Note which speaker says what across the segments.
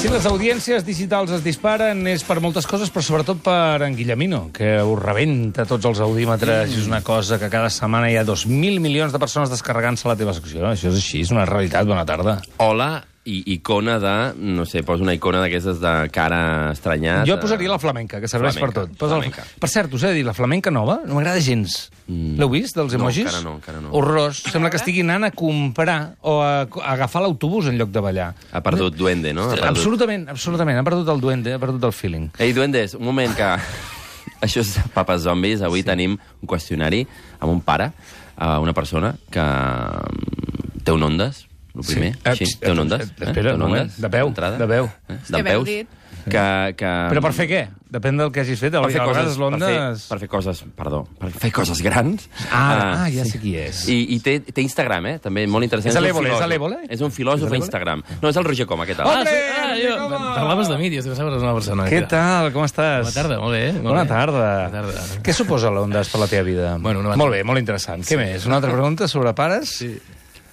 Speaker 1: Si les audiències digitals es disparen és per moltes coses, però sobretot per en Guillemino, que ho rebenta tots els audímetres. Mm. És una cosa que cada setmana hi ha 2.000 milions de persones descarregant-se la teva secció. Això és així, és una realitat. Bona tarda.
Speaker 2: Hola i icona de, no sé, posa una icona d'aquestes de cara estranyada.
Speaker 1: Jo posaria la flamenca, que serveix
Speaker 2: Flamenca,
Speaker 1: per tot. Posa
Speaker 2: flamenca.
Speaker 1: La... Per cert, us he de dir, la flamenca nova no m'agrada gens. Mm. L'heu vist, dels
Speaker 2: No,
Speaker 1: emojis?
Speaker 2: encara no, encara no. Eh?
Speaker 1: Horrors. Sembla que estiguin anant a comprar o a, a agafar l'autobús en lloc de ballar.
Speaker 2: Ha perdut Duende, no? Ha perdut.
Speaker 1: Absolutament, absolutament. Ha perdut el duende, ha perdut el feeling.
Speaker 2: Ei, Duendes, un moment, que... Això és Papes Zombis. Avui sí. tenim un qüestionari amb un pare, a una persona que mm, té un ondes, el primer.
Speaker 1: Eh,
Speaker 2: Sí,
Speaker 1: psst,
Speaker 2: té un
Speaker 1: eh,
Speaker 2: ondes.
Speaker 1: espera,
Speaker 2: té un
Speaker 1: un moment,
Speaker 2: ondes,
Speaker 1: de peu,
Speaker 2: d'entrada.
Speaker 1: de peu.
Speaker 2: Eh?
Speaker 3: que
Speaker 2: De
Speaker 3: bé heu
Speaker 2: peus.
Speaker 3: dit.
Speaker 2: Que, que...
Speaker 1: Però per fer què? Depèn del que hagis fet.
Speaker 2: Per fer,
Speaker 1: a
Speaker 2: coses,
Speaker 1: vegades
Speaker 2: per,
Speaker 1: l'onda...
Speaker 2: fer, per fer coses, perdó, per fer coses grans.
Speaker 1: Ah, ah, ja
Speaker 2: sí.
Speaker 1: sé qui és. I...
Speaker 2: I, i té, té Instagram, eh? També molt interessant.
Speaker 1: És
Speaker 2: un
Speaker 1: l'Ébola, és
Speaker 2: filòsof.
Speaker 1: l'Ébola?
Speaker 2: És un filòsof a Instagram. No, és el Roger Coma, què tal?
Speaker 1: Hombre,
Speaker 4: ah, jo, parlaves de mi, dius, que sembla una persona.
Speaker 1: Què tal? Com estàs?
Speaker 4: Bona tarda, molt eh? bé. Molt
Speaker 1: Bona
Speaker 4: bé.
Speaker 1: tarda.
Speaker 4: Bona tarda.
Speaker 1: Què suposa l'Ondas per la teva vida?
Speaker 4: Bueno, una altra-
Speaker 1: Molt bé, molt interessant. Sí. Què més? Una altra pregunta sobre pares? Sí.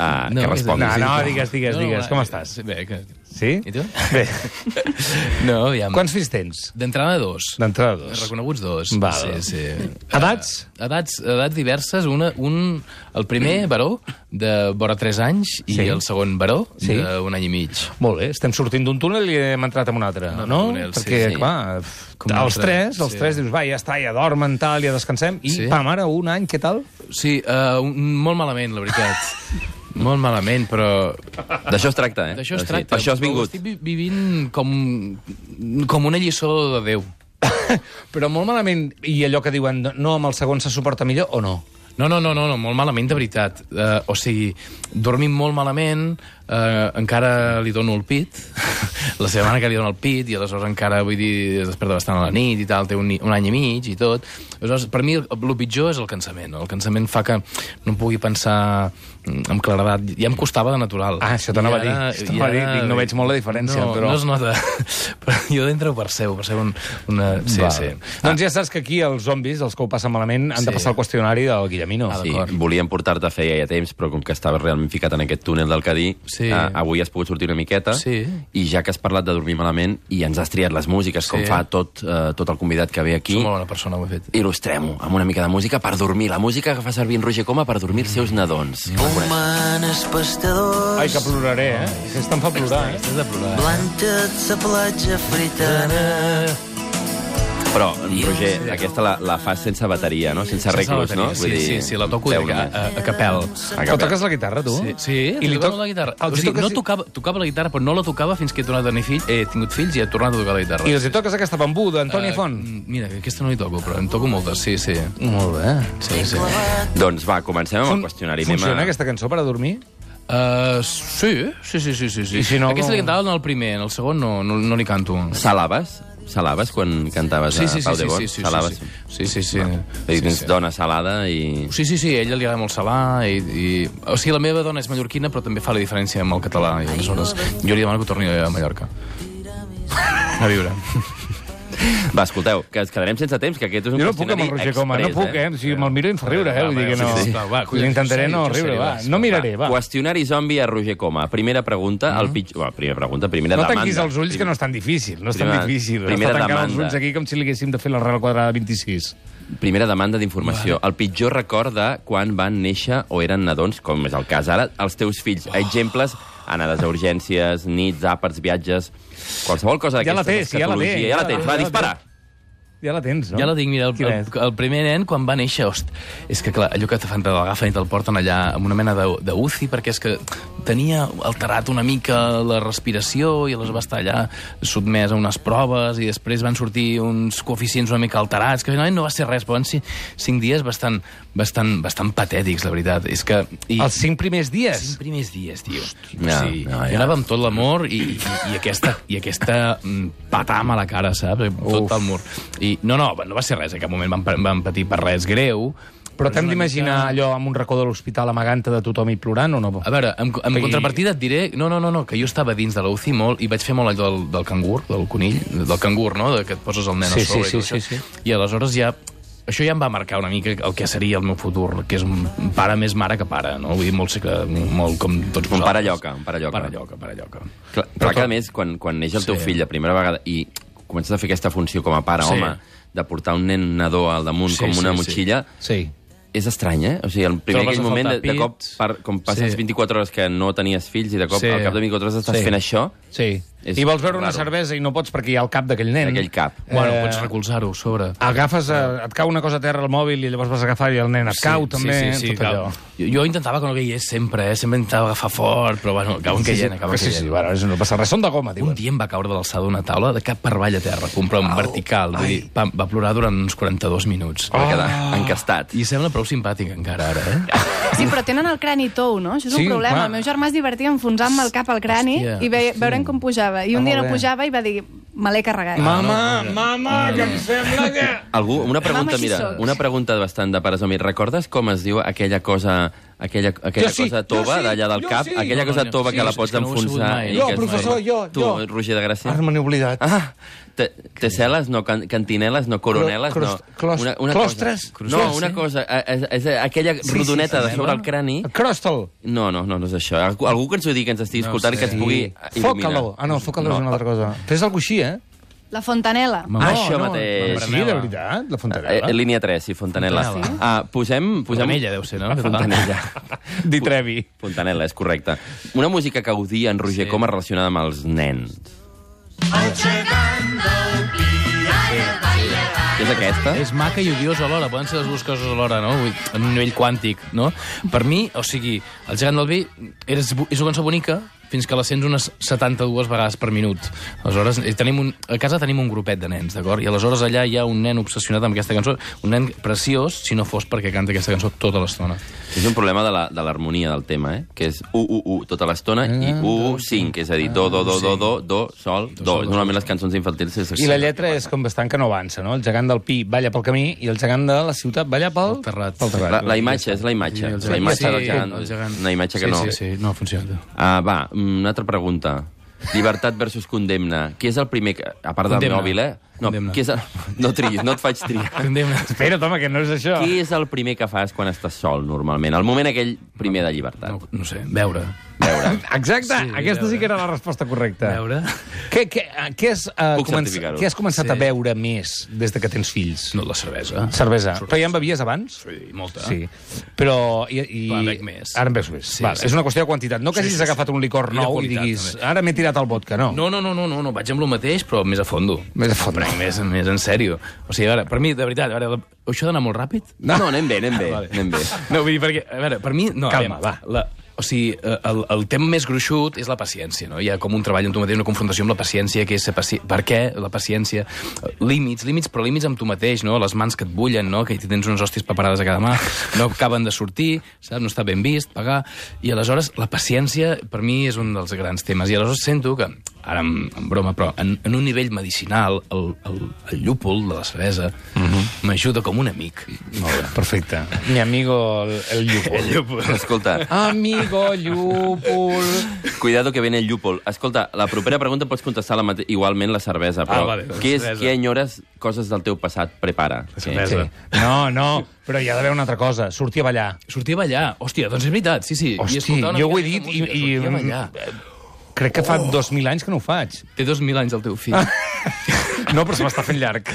Speaker 2: Ah, no,
Speaker 4: No,
Speaker 2: que respongui.
Speaker 1: No,
Speaker 4: Sí,
Speaker 1: no,
Speaker 4: sí.
Speaker 1: digues, digues,
Speaker 4: No, no,
Speaker 1: digues.
Speaker 4: va,
Speaker 1: Com
Speaker 4: eh,
Speaker 1: estàs?
Speaker 4: Bé, que...
Speaker 1: Sí?
Speaker 4: I tu?
Speaker 1: Bé.
Speaker 4: No, aviam.
Speaker 1: Quants fills tens?
Speaker 4: D'entrada, dos.
Speaker 1: D'entrada dos.
Speaker 4: Reconeguts dos.
Speaker 1: Val.
Speaker 4: Sí, sí.
Speaker 1: Edats?
Speaker 4: Edats, edats diverses. Una, un, el primer, baró, de vora 3 anys,
Speaker 1: Sí.
Speaker 4: i el segon, baró,
Speaker 1: Sí.
Speaker 4: d'un any i mig.
Speaker 1: Molt bé, estem sortint d'un túnel i hem entrat en un altre,
Speaker 4: En
Speaker 1: no?
Speaker 4: un túnel, sí,
Speaker 1: Perquè,
Speaker 4: sí.
Speaker 1: clar, pf,
Speaker 4: Com un
Speaker 1: els
Speaker 4: altre,
Speaker 1: tres, els
Speaker 4: sí.
Speaker 1: tres dius, va, ja està, ja dormen, tal, ja descansem, i
Speaker 4: Sí.
Speaker 1: pa, mare, un any, què tal?
Speaker 4: Sí, uh, un, molt malament, la veritat. molt malament, però
Speaker 2: D'això es tracta, eh?
Speaker 4: D'això
Speaker 2: O
Speaker 4: es
Speaker 2: sigui,
Speaker 4: tracta.
Speaker 2: per Això has
Speaker 4: Ho
Speaker 2: vingut.
Speaker 4: estic vi- vivint com, com una lliçó de Déu.
Speaker 1: Però molt malament, i allò que diuen, no, amb el segon se suporta millor o no?
Speaker 4: No, no, no, no, no molt malament, de veritat. Uh, o sigui, dormim molt malament, uh, encara li dono el pit, la setmana que li dono el pit, i aleshores encara, vull dir, es desperta bastant a la nit i tal, té un, ni- un any i mig i tot. Aleshores, per mi, el, el pitjor és el cansament. El cansament fa que no em pugui pensar mm, amb claredat. Ja em costava de natural.
Speaker 1: Ah, això t'anava
Speaker 4: I
Speaker 1: a dir.
Speaker 4: ara-
Speaker 1: Això
Speaker 4: i
Speaker 1: t'anava a dir.
Speaker 4: ara-
Speaker 1: Dic, no veig molt la diferència,
Speaker 4: no,
Speaker 1: però-
Speaker 4: No es nota, però jo d'entre ho percebo, percebo un, una... Sí,
Speaker 1: Val.
Speaker 4: sí.
Speaker 1: Doncs ja saps que aquí els zombis, els que ho passen malament, han de
Speaker 4: Sí.
Speaker 1: passar el qüestionari del Guillemino.
Speaker 4: Ah,
Speaker 2: Sí,
Speaker 4: d'acord.
Speaker 2: volíem portar-te feia ja temps, però com que estaves realment ficat en aquest túnel del Cadí,
Speaker 4: Sí.
Speaker 2: eh, avui has pogut sortir una miqueta,
Speaker 4: Sí.
Speaker 2: i ja que has parlat de dormir malament i ens has triat les músiques, com
Speaker 4: Sí.
Speaker 2: fa tot, eh, tot el convidat que ve aquí,
Speaker 4: Som molt bona persona, ho he fet.
Speaker 2: il·lustrem-ho amb una mica de música per dormir. La música que fa servir en Roger Coma per dormir els seus nadons. La coneixes?
Speaker 5: Humanes pastadors,
Speaker 1: Ai, que ploraré, eh? Aquesta em fa plorar, eh?
Speaker 4: Has de plorar.
Speaker 5: plantes a platja fritana.
Speaker 2: Però, Roger, aquesta la, la fas sense bateria, no? Sense reclus, no?
Speaker 4: Sí, sí, sí, la toco
Speaker 2: feu
Speaker 4: de, a,
Speaker 2: només.
Speaker 4: a, a capel.
Speaker 1: eh. Però toques la guitarra, tu?
Speaker 4: Sí, sí
Speaker 1: I li toc...
Speaker 4: la guitarra.
Speaker 1: Els
Speaker 4: O sigui,
Speaker 1: toques...
Speaker 4: no tocava, tocava la guitarra, però no la tocava fins que he tornat a tenir fills, he tingut fills i he tornat a tocar la guitarra.
Speaker 1: I els hi toques aquesta bambú d'Antoni
Speaker 4: Eh,
Speaker 1: Font?
Speaker 4: Mira, aquesta no hi toco, però en toco moltes, sí, sí.
Speaker 1: Molt bé.
Speaker 4: Sí, sí.
Speaker 2: Doncs va, comencem amb el qüestionari. Anem a-
Speaker 1: Funciona aquesta cançó per a dormir?
Speaker 4: Uh, sí, sí, sí, sí, sí, sí.
Speaker 1: I si no,
Speaker 4: Aquesta
Speaker 1: no-
Speaker 4: li cantava en el primer, en el segon no, no, no li canto.
Speaker 2: Salaves? Salaves quan cantaves
Speaker 4: Sí, sí,
Speaker 2: a
Speaker 4: sí,
Speaker 2: Pau
Speaker 4: sí,
Speaker 2: de Bon?
Speaker 4: sí, sí,
Speaker 2: Salaves?
Speaker 4: sí,
Speaker 1: Eh,
Speaker 4: sí. Sí, sí, sí.
Speaker 2: Vull dir,
Speaker 4: Sí,
Speaker 2: tens
Speaker 4: sí.
Speaker 2: dona salada i...
Speaker 4: Sí, sí, sí, a ella li agrada molt salar i, i... O sigui, la meva dona és mallorquina però també fa la diferència amb el català i aleshores jo li demano que torni a Mallorca. A viure.
Speaker 2: Va, escolteu, que ens quedarem sense temps, que aquest és un
Speaker 1: Jo no puc amb
Speaker 2: qüestionari
Speaker 1: el Roger Coma, no
Speaker 2: express,
Speaker 1: puc, eh? Si me'l miro i em fa riure, eh? Vull dir que no...
Speaker 4: Sí, sí. Va, va, collons,
Speaker 1: Intentaré no
Speaker 4: jo sé,
Speaker 1: riure,
Speaker 4: jo
Speaker 1: va.
Speaker 4: sé,
Speaker 1: No
Speaker 4: va.
Speaker 1: miraré, va. Mm.
Speaker 2: Qüestionari zombi a Roger Coma. Primera pregunta, el pitjor... Bueno, primera pregunta, primera
Speaker 1: No
Speaker 2: demanda.
Speaker 1: tanquis els ulls, que no és tan difícil. No és tan
Speaker 2: Primera-
Speaker 1: difícil.
Speaker 2: primera
Speaker 1: Està tancant els
Speaker 2: demanda.
Speaker 1: ulls aquí com si li haguéssim de fer la real quadrada 26.
Speaker 2: Primera demanda d'informació. El pitjor record de quan van néixer o eren nadons, com és el cas ara, els teus fills. Exemples, anades a urgències, nits, àpats, viatges... Qualsevol cosa
Speaker 1: Ja la
Speaker 2: d'aquestes
Speaker 1: té, sí, ja la té.
Speaker 2: escatologia. Ja la tens, va, dispara!
Speaker 1: Ja la tens, no?
Speaker 4: Ja la tinc, mira, el,
Speaker 1: Quina
Speaker 4: el,
Speaker 1: és?
Speaker 4: el primer nen, quan va néixer, host, és que, clar, allò que te fan, te l'agafen i te'l porten allà amb una mena de- de UCI, perquè és que tenia alterat una mica la respiració i les va estar allà sotmès a unes proves i després van sortir uns coeficients una mica alterats, que finalment no va ser res, però van ser cinc dies bastant, bastant, bastant patètics, la veritat. És que... I,
Speaker 1: Els cinc primers dies?
Speaker 4: cinc primers dies, tio.
Speaker 2: No,
Speaker 4: o sigui,
Speaker 2: no,
Speaker 4: no,
Speaker 2: ja.
Speaker 4: jo anava amb tot l'amor i, i, i, aquesta, i aquesta mm, patam a la cara, saps? Amb Tot el mur. I, no, no, no va ser res. En cap moment van, pa- van patir per res greu.
Speaker 1: Però t'hem
Speaker 4: és una
Speaker 1: d'imaginar
Speaker 4: mica-
Speaker 1: allò amb un racó de l'hospital amagant-te de tothom i plorant o no?
Speaker 4: A veure, en, en
Speaker 1: sigui-
Speaker 4: contrapartida et diré... No, no, no, no, que jo estava dins de la UCI molt i vaig fer molt allò del, del cangur, del conill, del cangur, no?, de que et poses el nen
Speaker 1: Sí,
Speaker 4: a sobre.
Speaker 1: sí,
Speaker 4: i,
Speaker 1: sí,
Speaker 4: tot
Speaker 1: sí,
Speaker 4: això. I aleshores ja... Això ja em va marcar una mica el que seria el meu futur, que és un pare més mare que pare, no? Vull dir, molt, sí que, molt com tots
Speaker 2: Un
Speaker 4: vosaltres.
Speaker 2: pare lloca, un pare lloca.
Speaker 4: Pare lloca, pare lloca.
Speaker 2: Clar, clar que a més, quan, quan neix el teu fill la primera vegada i comences a fer aquesta funció com a pare,
Speaker 4: Sí.
Speaker 2: home, de portar un nen nadó al damunt
Speaker 4: Sí,
Speaker 2: com una
Speaker 4: sí, sí.
Speaker 2: motxilla,
Speaker 1: Sí.
Speaker 2: és estrany, eh? O sigui, el primer
Speaker 4: Trobes
Speaker 2: aquell
Speaker 4: a
Speaker 2: moment, de,
Speaker 4: faltar
Speaker 2: de cop,
Speaker 4: pits.
Speaker 2: per, com passes
Speaker 4: Sí.
Speaker 2: 24 hores que no tenies fills i de cop
Speaker 4: Sí.
Speaker 2: al cap de 24 hores estàs
Speaker 1: Sí.
Speaker 2: fent això,
Speaker 1: Sí.
Speaker 2: És
Speaker 1: I vols veure una
Speaker 2: raro.
Speaker 1: cervesa i no pots perquè hi ha el cap d'aquell nen.
Speaker 2: aquell cap.
Speaker 4: Eh... Bueno, pots recolzar-ho, a sobre.
Speaker 1: Agafes, a, et cau una cosa a terra al mòbil i llavors vas agafar i el nen et cau també. eh,
Speaker 4: sí, sí,
Speaker 1: tot allò.
Speaker 4: cau. Jo, jo intentava que no caigués sempre, eh? Sempre intentava agafar fort, però bueno, acaben
Speaker 1: Sí, sí,
Speaker 4: caient, acaben
Speaker 1: sí,
Speaker 4: caient.
Speaker 1: sí, bueno, és- no passa res, són de goma,
Speaker 4: Un
Speaker 1: diuen.
Speaker 4: dia em va caure de l'alçada d'una taula de cap per avall a terra, com però en vertical. Vull dir, va, va plorar durant uns 42 minuts.
Speaker 1: Oh.
Speaker 2: va quedar encastat.
Speaker 4: I sembla prou simpàtic encara, ara, eh?
Speaker 6: Sí, però tenen el crani tou, no? Això és
Speaker 1: Sí,
Speaker 6: un problema.
Speaker 1: clar.
Speaker 6: El meu germà es divertia enfonsant-me el cap al crani
Speaker 4: Hòstia,
Speaker 6: i ve, veurem com pujava. I un
Speaker 1: Ah, molt
Speaker 6: dia no
Speaker 1: bé. Ah.
Speaker 6: pujava i va dir, me l'he carregat.
Speaker 1: Mama, mama, que em sembla que...
Speaker 2: Algú, una pregunta,
Speaker 6: així
Speaker 2: mira,
Speaker 6: soc.
Speaker 2: una pregunta bastant de pares homes. Recordes com es diu aquella cosa aquella, aquella
Speaker 1: Jo sí,
Speaker 2: cosa
Speaker 1: jo
Speaker 2: tova
Speaker 1: sí,
Speaker 2: d'allà del
Speaker 1: jo
Speaker 2: cap,
Speaker 1: sí.
Speaker 2: aquella
Speaker 4: No,
Speaker 2: cosa
Speaker 4: no,
Speaker 2: tova
Speaker 4: sí,
Speaker 2: que la
Speaker 4: és
Speaker 2: pots
Speaker 4: que no ho he sabut
Speaker 2: enfonsar.
Speaker 4: mai.
Speaker 2: i
Speaker 4: Jo,
Speaker 2: que és-
Speaker 1: professor, jo,
Speaker 2: tu,
Speaker 1: jo.
Speaker 2: Roger de Gràcia.
Speaker 1: Ara me n'he oblidat.
Speaker 2: Ah, te, teceles, no, can, cantineles, no, coroneles,
Speaker 1: Clos-
Speaker 2: no.
Speaker 1: clos- clostres?
Speaker 2: Cosa, no, una cosa, eh, és, és aquella rodoneta de sobre el crani.
Speaker 1: Crostal.
Speaker 2: No, no, no, no és això. Algú, algú que ens ho digui, que ens estigui escoltant, que ens pugui eh, il·luminar.
Speaker 1: Foca-lo. Ah, no, foca-lo és una altra cosa. Fes alguna així, eh?
Speaker 6: La fontanela.
Speaker 2: Ah, això
Speaker 1: Però
Speaker 2: mateix.
Speaker 1: Sí, de veritat, la
Speaker 2: Eh,
Speaker 1: fontanella.
Speaker 2: línia 3, sí, Fontanella.
Speaker 4: Fontanella.
Speaker 2: Ah, posem... posem... Ah,
Speaker 4: Fontanella deu ser, no?
Speaker 2: Fontanella.
Speaker 1: Di Trevi.
Speaker 2: Fontanella, és correcte. Una música que odia en Roger sí. Coma relacionada amb els nens. És aquesta?
Speaker 4: És maca i odiosa alhora, poden ser les dues coses alhora, no? Vull, en un nivell quàntic, no? Per mi, o sigui, el gegant del vi és, bo- és una cançó bonica fins que la sents unes 72 vegades per minut. Aleshores, eh, tenim un, a casa tenim un grupet de nens, d'acord? I aleshores allà hi ha un nen obsessionat amb aquesta cançó, un nen preciós, si no fos perquè canta aquesta cançó tota l'estona.
Speaker 2: És un problema de la- de l'harmonia de del tema, eh? Que és u, u, u tota l'estona i
Speaker 4: Ah,
Speaker 2: u, u, cinc. És a dir, do, do, do, do, do, do, sol, do. Normalment les cançons infantils és
Speaker 1: I
Speaker 2: així.
Speaker 1: la lletra és com bastant que no avança, no? El gegant del Pi balla pel camí i el gegant de la ciutat balla pel...
Speaker 4: Pel terrat.
Speaker 1: Pel terrat.
Speaker 2: La, la imatge, és la imatge.
Speaker 4: El
Speaker 2: la
Speaker 4: gegant-
Speaker 2: imatge
Speaker 4: sí,
Speaker 2: del gegant.
Speaker 4: el gegant.
Speaker 2: Una imatge que
Speaker 4: sí,
Speaker 2: no...
Speaker 4: Sí, sí, no funciona.
Speaker 2: Ah, va, una altra pregunta. Llibertat versus condemna. Qui és el primer que... A part del
Speaker 4: Condemna.
Speaker 2: mòbil, eh? No,
Speaker 4: Condemna.
Speaker 2: qui és el... no triguis, no et faig triar.
Speaker 4: Condemna.
Speaker 1: Espera't, home, que no és això.
Speaker 2: Qui és el primer que fas quan estàs sol, normalment? El moment aquell primer de llibertat.
Speaker 4: No, no sé, veure.
Speaker 1: Exacte, sí, aquesta sí que era la resposta correcta.
Speaker 4: Veure?
Speaker 1: Què, què, eh, què, has, uh,
Speaker 2: Puc
Speaker 1: començat,
Speaker 2: certificar-ho.
Speaker 1: què has començat sí. a beure més des de que tens fills?
Speaker 4: No, la cervesa.
Speaker 1: Cervesa. Però ja en bevies abans?
Speaker 4: Sí, molta.
Speaker 1: Sí. Però... I, i...
Speaker 4: Però en bec més.
Speaker 1: Ara en becs més.
Speaker 4: Sí,
Speaker 1: Sí, Val,
Speaker 4: sí.
Speaker 1: sí. És una qüestió de quantitat. No que
Speaker 4: Sí,
Speaker 1: hagis
Speaker 4: sí, sí.
Speaker 1: agafat un licor
Speaker 4: I de
Speaker 1: nou i,
Speaker 4: qualitat,
Speaker 1: diguis...
Speaker 4: també.
Speaker 1: Ara m'he tirat el vodka, no.
Speaker 4: Oh. No, no, no, no, no, no, vaig amb el mateix, però més a fondo.
Speaker 1: Més a fondo.
Speaker 4: Però Més, més en sèrio. O sigui, a veure, per mi, de veritat, a veure, la- això d'anar molt ràpid?
Speaker 2: No, no, anem bé, anem bé.
Speaker 4: Vale. Ah,
Speaker 2: Anem bé.
Speaker 4: No, vull dir, perquè, a veure, per mi... No,
Speaker 1: Calma,
Speaker 4: aviam,
Speaker 1: va.
Speaker 4: La, o sigui, eh, el, el tema més gruixut és la paciència, no? Hi ha com un treball amb tu mateix, una confrontació amb la paciència, que és ser paci... per què la paciència, Eh, límits, límits, però límits amb tu mateix, no? Les mans que et bullen, no? Que hi tens unes hòsties preparades a cada mà, no acaben de sortir, saps? No està ben vist, pagar... I aleshores, la paciència, per mi, és un dels grans temes. I aleshores sento que, ara en, en broma, però en, en un nivell medicinal, el, el, el llúpol de la cervesa m'ajuda com un amic.
Speaker 1: Mhm. Molt bé, perfecte. Mi amigo el, el llúpol.
Speaker 4: El llúpol.
Speaker 2: Escolta,
Speaker 1: Amigo llúpol.
Speaker 2: cuidado que viene el llúpol. Escolta, la propera pregunta pots contestar la mate... igualment la cervesa, però
Speaker 4: Ah, vale, la
Speaker 2: què, és,
Speaker 4: cervesa.
Speaker 2: què enyores coses del teu passat? Prepara. La
Speaker 4: cervesa.
Speaker 1: No, no, però hi ha d'haver una altra cosa. Sortir a ballar.
Speaker 4: Sortir a ballar. Hòstia, doncs és veritat, sí, sí. I
Speaker 1: Hosti,
Speaker 4: escoltar una
Speaker 1: jo
Speaker 4: mica
Speaker 1: ho he
Speaker 4: aquesta
Speaker 1: dit i-
Speaker 4: música,
Speaker 1: i- eh,
Speaker 4: sortir a ballar. Oh.
Speaker 1: Crec que fa 2.000 anys que no ho faig.
Speaker 4: Té 2.000 anys el teu fill.
Speaker 1: No, però se m'està fent llarg.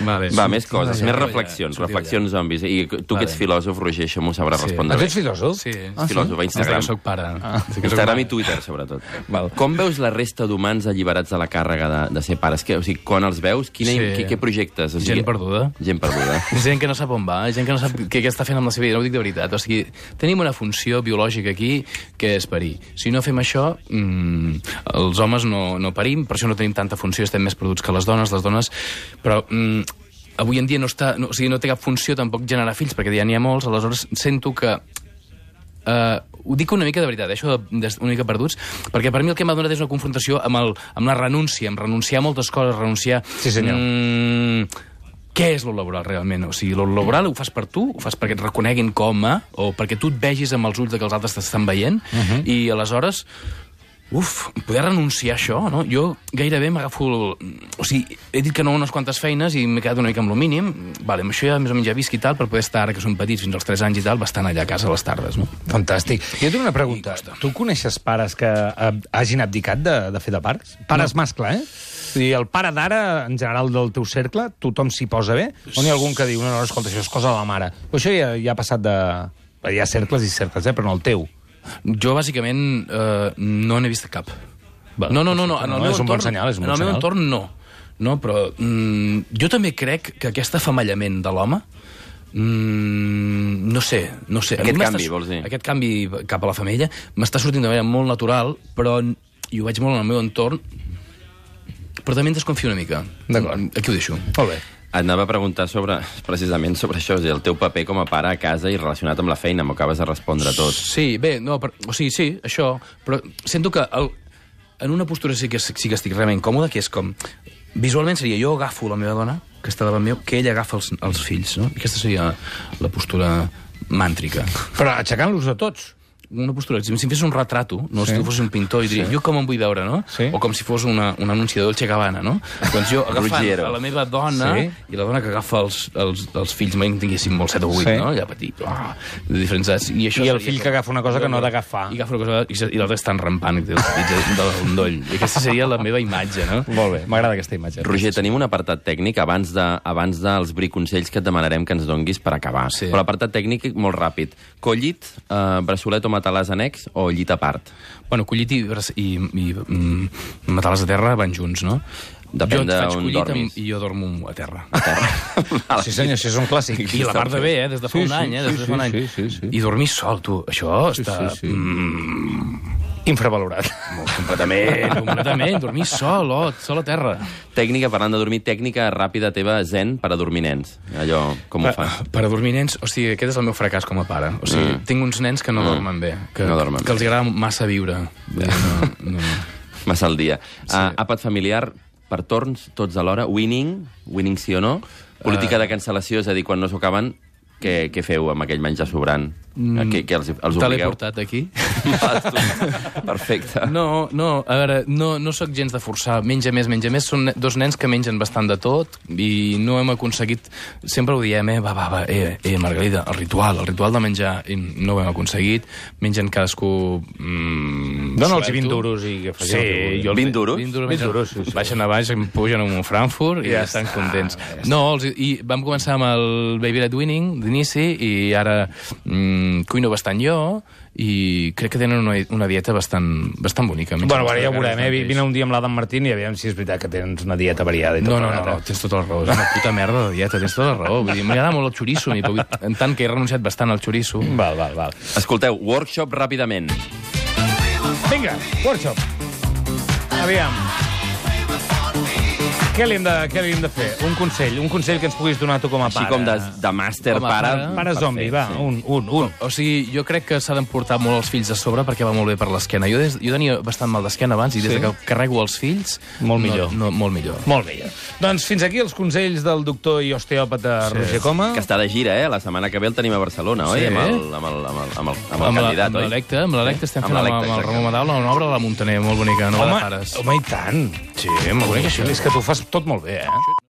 Speaker 4: vale.
Speaker 2: Va, més coses, més
Speaker 4: Sortiu
Speaker 2: reflexions,
Speaker 4: allà.
Speaker 2: reflexions zombis. I tu que ets
Speaker 4: Vale.
Speaker 2: filòsof, Roger, això m'ho sabrà
Speaker 4: Sí.
Speaker 2: respondre
Speaker 1: Ah, tu
Speaker 2: bé.
Speaker 1: ets filòsof?
Speaker 4: Sí,
Speaker 2: Ah, filòsof, a Instagram.
Speaker 4: Soc pare. Ah.
Speaker 2: Instagram i Twitter, sobretot.
Speaker 4: Val.
Speaker 2: Com veus la resta d'humans alliberats de la càrrega de, de ser pares? Que, o sigui, quan els veus, quina,
Speaker 4: Sí.
Speaker 2: sí. què, què projectes? O sigui,
Speaker 4: Gent perduda.
Speaker 2: Gent perduda.
Speaker 4: Gent que no sap on va, gent que no sap què, què està fent amb la seva vida, no ho dic de veritat. O sigui, tenim una funció biològica aquí que és parir. Si no fem això, mmm, els homes no, no parim, per això no tenim tanta funció, estem més produts que les dones, les dones... Però mmm, avui en dia no, està, no, o sigui, no té cap funció tampoc generar fills, perquè ja n'hi ha molts, aleshores sento que eh, ho dic una mica de veritat, eh, això de- de- una mica perduts, perquè per mi el que m'ha donat és una confrontació amb, el, amb la renúncia, amb renunciar a moltes coses, renunciar...
Speaker 1: Sí, senyor.
Speaker 4: Mm, què és lo laboral realment? O sigui, lo laboral ho fas per tu, ho fas perquè et reconeguin com a, o perquè tu et vegis amb els ulls de que els altres t'estan veient,
Speaker 1: Mhm.
Speaker 4: uh -huh. i aleshores Uf, poder renunciar a això, no? Jo gairebé m'agafo... el- O sigui, he dit que no a unes quantes feines i m'he quedat una mica amb lo mínim. Vale, amb això ja més o menys ja visc i tal, per poder estar, ara que són petits, fins als 3 anys i tal, bastant allà a casa a les tardes, no?
Speaker 1: Fantàstic. Jo tinc una pregunta. Tu coneixes pares que eh, hagin abdicat de, de fer de pares? Pares no. mascle, eh? Vull dir, el pare d'ara, en general del teu cercle, tothom s'hi posa bé? O n'hi ha algun que diu, no, no, escolta, això és cosa de la mare? O això ja, ja ha passat de... Hi ha cercles i cercles, eh? però no el teu.
Speaker 4: Jo, bàsicament, eh, no n'he vist cap.
Speaker 1: Val,
Speaker 4: no, no, no, no,
Speaker 1: Doncs
Speaker 4: en
Speaker 1: no,
Speaker 4: el meu
Speaker 1: és un bon
Speaker 4: entorn-
Speaker 1: senyal, és un
Speaker 4: en el
Speaker 1: bon
Speaker 4: meu
Speaker 1: senyal.
Speaker 4: entorn no. No, però mm, jo també crec que aquest afamallament de l'home Mm, no sé, no sé. A mi
Speaker 2: Aquest
Speaker 4: m'està
Speaker 2: canvi,
Speaker 4: su-
Speaker 2: vols dir?
Speaker 4: Aquest canvi cap a la femella m'està sortint de manera molt natural, però n- i ho veig molt en el meu entorn, però també en desconfio una mica.
Speaker 1: D'acord.
Speaker 4: Aquí ho deixo.
Speaker 1: Molt bé.
Speaker 2: Et anava a preguntar sobre, precisament sobre això, és a dir, el teu paper com a pare a casa i relacionat amb la feina. M'ho acabes de respondre tot.
Speaker 4: Sí, bé, no, per, o sigui, sí, això, però sento que el, en una postura sí que, sí que estic realment còmode, que és com... Visualment seria jo agafo la meva dona, que està davant meu, que ella agafa els, els fills, no? Aquesta seria la postura màntrica.
Speaker 1: Però aixecant-los de tots.
Speaker 4: Una postura, si em fes un retrato, no? Sí.
Speaker 1: Sí.
Speaker 4: si tu fos un pintor i diria, sí. jo com em vull veure, no?
Speaker 1: Sí.
Speaker 4: O com si fos una, un anunci de Dolce Gabbana, no? doncs jo agafant
Speaker 2: Ruggiero.
Speaker 4: a la meva dona
Speaker 1: Sí.
Speaker 4: sí. i la dona que agafa els, els, els fills, mai en tinguéssim molt 7 o 8,
Speaker 1: Sí.
Speaker 4: sí. no? Allà petit, ah, de diferents edats. I, això
Speaker 1: I el
Speaker 4: seria
Speaker 1: fill
Speaker 4: com-
Speaker 1: que agafa una cosa que no ha d'agafar.
Speaker 4: i agafa una cosa i se- i l'altre està enrampant i té els dits de- de l'endoll. I aquesta seria la meva imatge, no?
Speaker 1: Molt bé, m'agrada aquesta imatge.
Speaker 2: Roger, tenim un apartat tècnic abans, de, abans dels briconsells que et demanarem que ens donguis per acabar.
Speaker 4: Sí.
Speaker 2: Però l'apartat tècnic, molt ràpid. Collit, eh, braçolet o matalàs annex o llit a part?
Speaker 4: Bueno, collit i, braç- i, i mm, matalàs a terra van junts, no?
Speaker 2: Depèn
Speaker 4: jo et faig
Speaker 2: d'on
Speaker 4: collit
Speaker 2: dormis.
Speaker 4: Amb, i jo dormo a terra.
Speaker 1: Sí, senyor, sí, és un clàssic.
Speaker 4: I la part de bé, eh? Des de fa
Speaker 1: Sí,
Speaker 4: un
Speaker 1: sí,
Speaker 4: any, eh? Des de
Speaker 1: sí,
Speaker 4: fa un any.
Speaker 1: sí, sí, sí.
Speaker 4: I dormir sol, tu. Això està...
Speaker 1: sí, sí.
Speaker 4: Mm,
Speaker 1: Infravalorat.
Speaker 4: completament, completament. Dormir sol, oh, sol a terra.
Speaker 2: Tècnica, parlant de dormir, tècnica ràpida teva, zen, per a dormir nens. Allò, com ho fas?
Speaker 4: Per a dormir nens, o sigui, aquest és el meu fracàs com a pare. O sigui, mm. tinc uns nens que no mm. dormen bé, que,
Speaker 2: No dormen
Speaker 4: que els agrada massa viure. Vull dir, No, no.
Speaker 2: Massa al dia. Sí. Uh, àpat familiar, per torns, tots alhora, winning, winning sí o no, política uh...
Speaker 4: Eh.
Speaker 2: de cancel·lació, és a dir, quan no s'ho acaben, què, què feu amb aquell menjar sobrant? Mm. Que, que els, els
Speaker 4: Te l'he
Speaker 2: obligueu?
Speaker 4: portat aquí?
Speaker 2: Perfecte.
Speaker 4: No, no, a veure, no, no sóc gens de forçar. Menja més, menja més. Són ne- dos nens que mengen bastant de tot i no hem aconseguit... Sempre ho diem, eh? Va, va, va, eh, eh, Margarida, el ritual, el ritual de menjar, i no ho hem aconseguit. Mengen cadascú... Mm,
Speaker 1: Dóna'ls
Speaker 4: suelto.
Speaker 1: 20 duros i que facin el que
Speaker 4: Sí,
Speaker 1: vulguin.
Speaker 4: jo els
Speaker 2: 20 duros?
Speaker 4: 20 duros,
Speaker 1: 20 duros, sí, sí.
Speaker 4: Baixen a baix, em pugen amb un Frankfurt i ja, estan contents. No, els, i vam començar amb el Baby Led Winning d'inici i ara mm, cuino bastant jo i crec que tenen una, una dieta bastant, bastant bonica.
Speaker 1: Bueno, bueno, ja ho veurem, eh? Vine un dia amb l'Adam Martín i aviam si és veritat que tens una dieta variada i tot.
Speaker 4: No, no, no,
Speaker 1: plegat,
Speaker 4: no, tens tota la raó. És una puta merda de dieta, tens tota la raó. Vull dir, m'agrada molt el xoriço, a mi, però en tant que he renunciat bastant al xoriço.
Speaker 1: eh? Val, val, val.
Speaker 2: Escolteu, workshop ràpidament.
Speaker 1: Vinga, workshop. Aviam. Què li, hem de, què li hem de fer? Un consell, un consell que ens puguis donar tu com a
Speaker 2: Així
Speaker 1: pare.
Speaker 2: com de, de màster,
Speaker 4: Com a
Speaker 2: pare...
Speaker 4: pare.
Speaker 1: Pare zombi, va, un, un, un.
Speaker 4: O sigui, jo crec que s'ha d'emportar molt els fills a sobre perquè va molt bé per l'esquena. Jo, des, jo tenia bastant mal d'esquena abans i des
Speaker 1: Sí?
Speaker 4: sí? que carrego els fills...
Speaker 1: Molt
Speaker 4: no-
Speaker 1: millor.
Speaker 4: No, molt millor.
Speaker 1: Molt bé. Doncs fins aquí els consells del doctor i osteòpata sí. Roger Coma.
Speaker 2: Que està de gira, eh? La setmana que ve el tenim a Barcelona, oi?
Speaker 4: Sí.
Speaker 2: Amb el, amb el, amb el, amb el, amb el
Speaker 4: Amb la-
Speaker 2: candidat,
Speaker 4: amb
Speaker 2: oi?
Speaker 4: l'electe, amb l'electe estem
Speaker 2: Amb
Speaker 4: fent amb,
Speaker 2: l'electe,
Speaker 4: amb el
Speaker 2: exacte.
Speaker 4: Ramon Madaula una obra de la Montaner molt bonica, no de
Speaker 1: home,
Speaker 4: pares.
Speaker 1: home, i tant.
Speaker 4: Sí, molt bonic,
Speaker 1: Això és que tu fas tot molt bé, eh?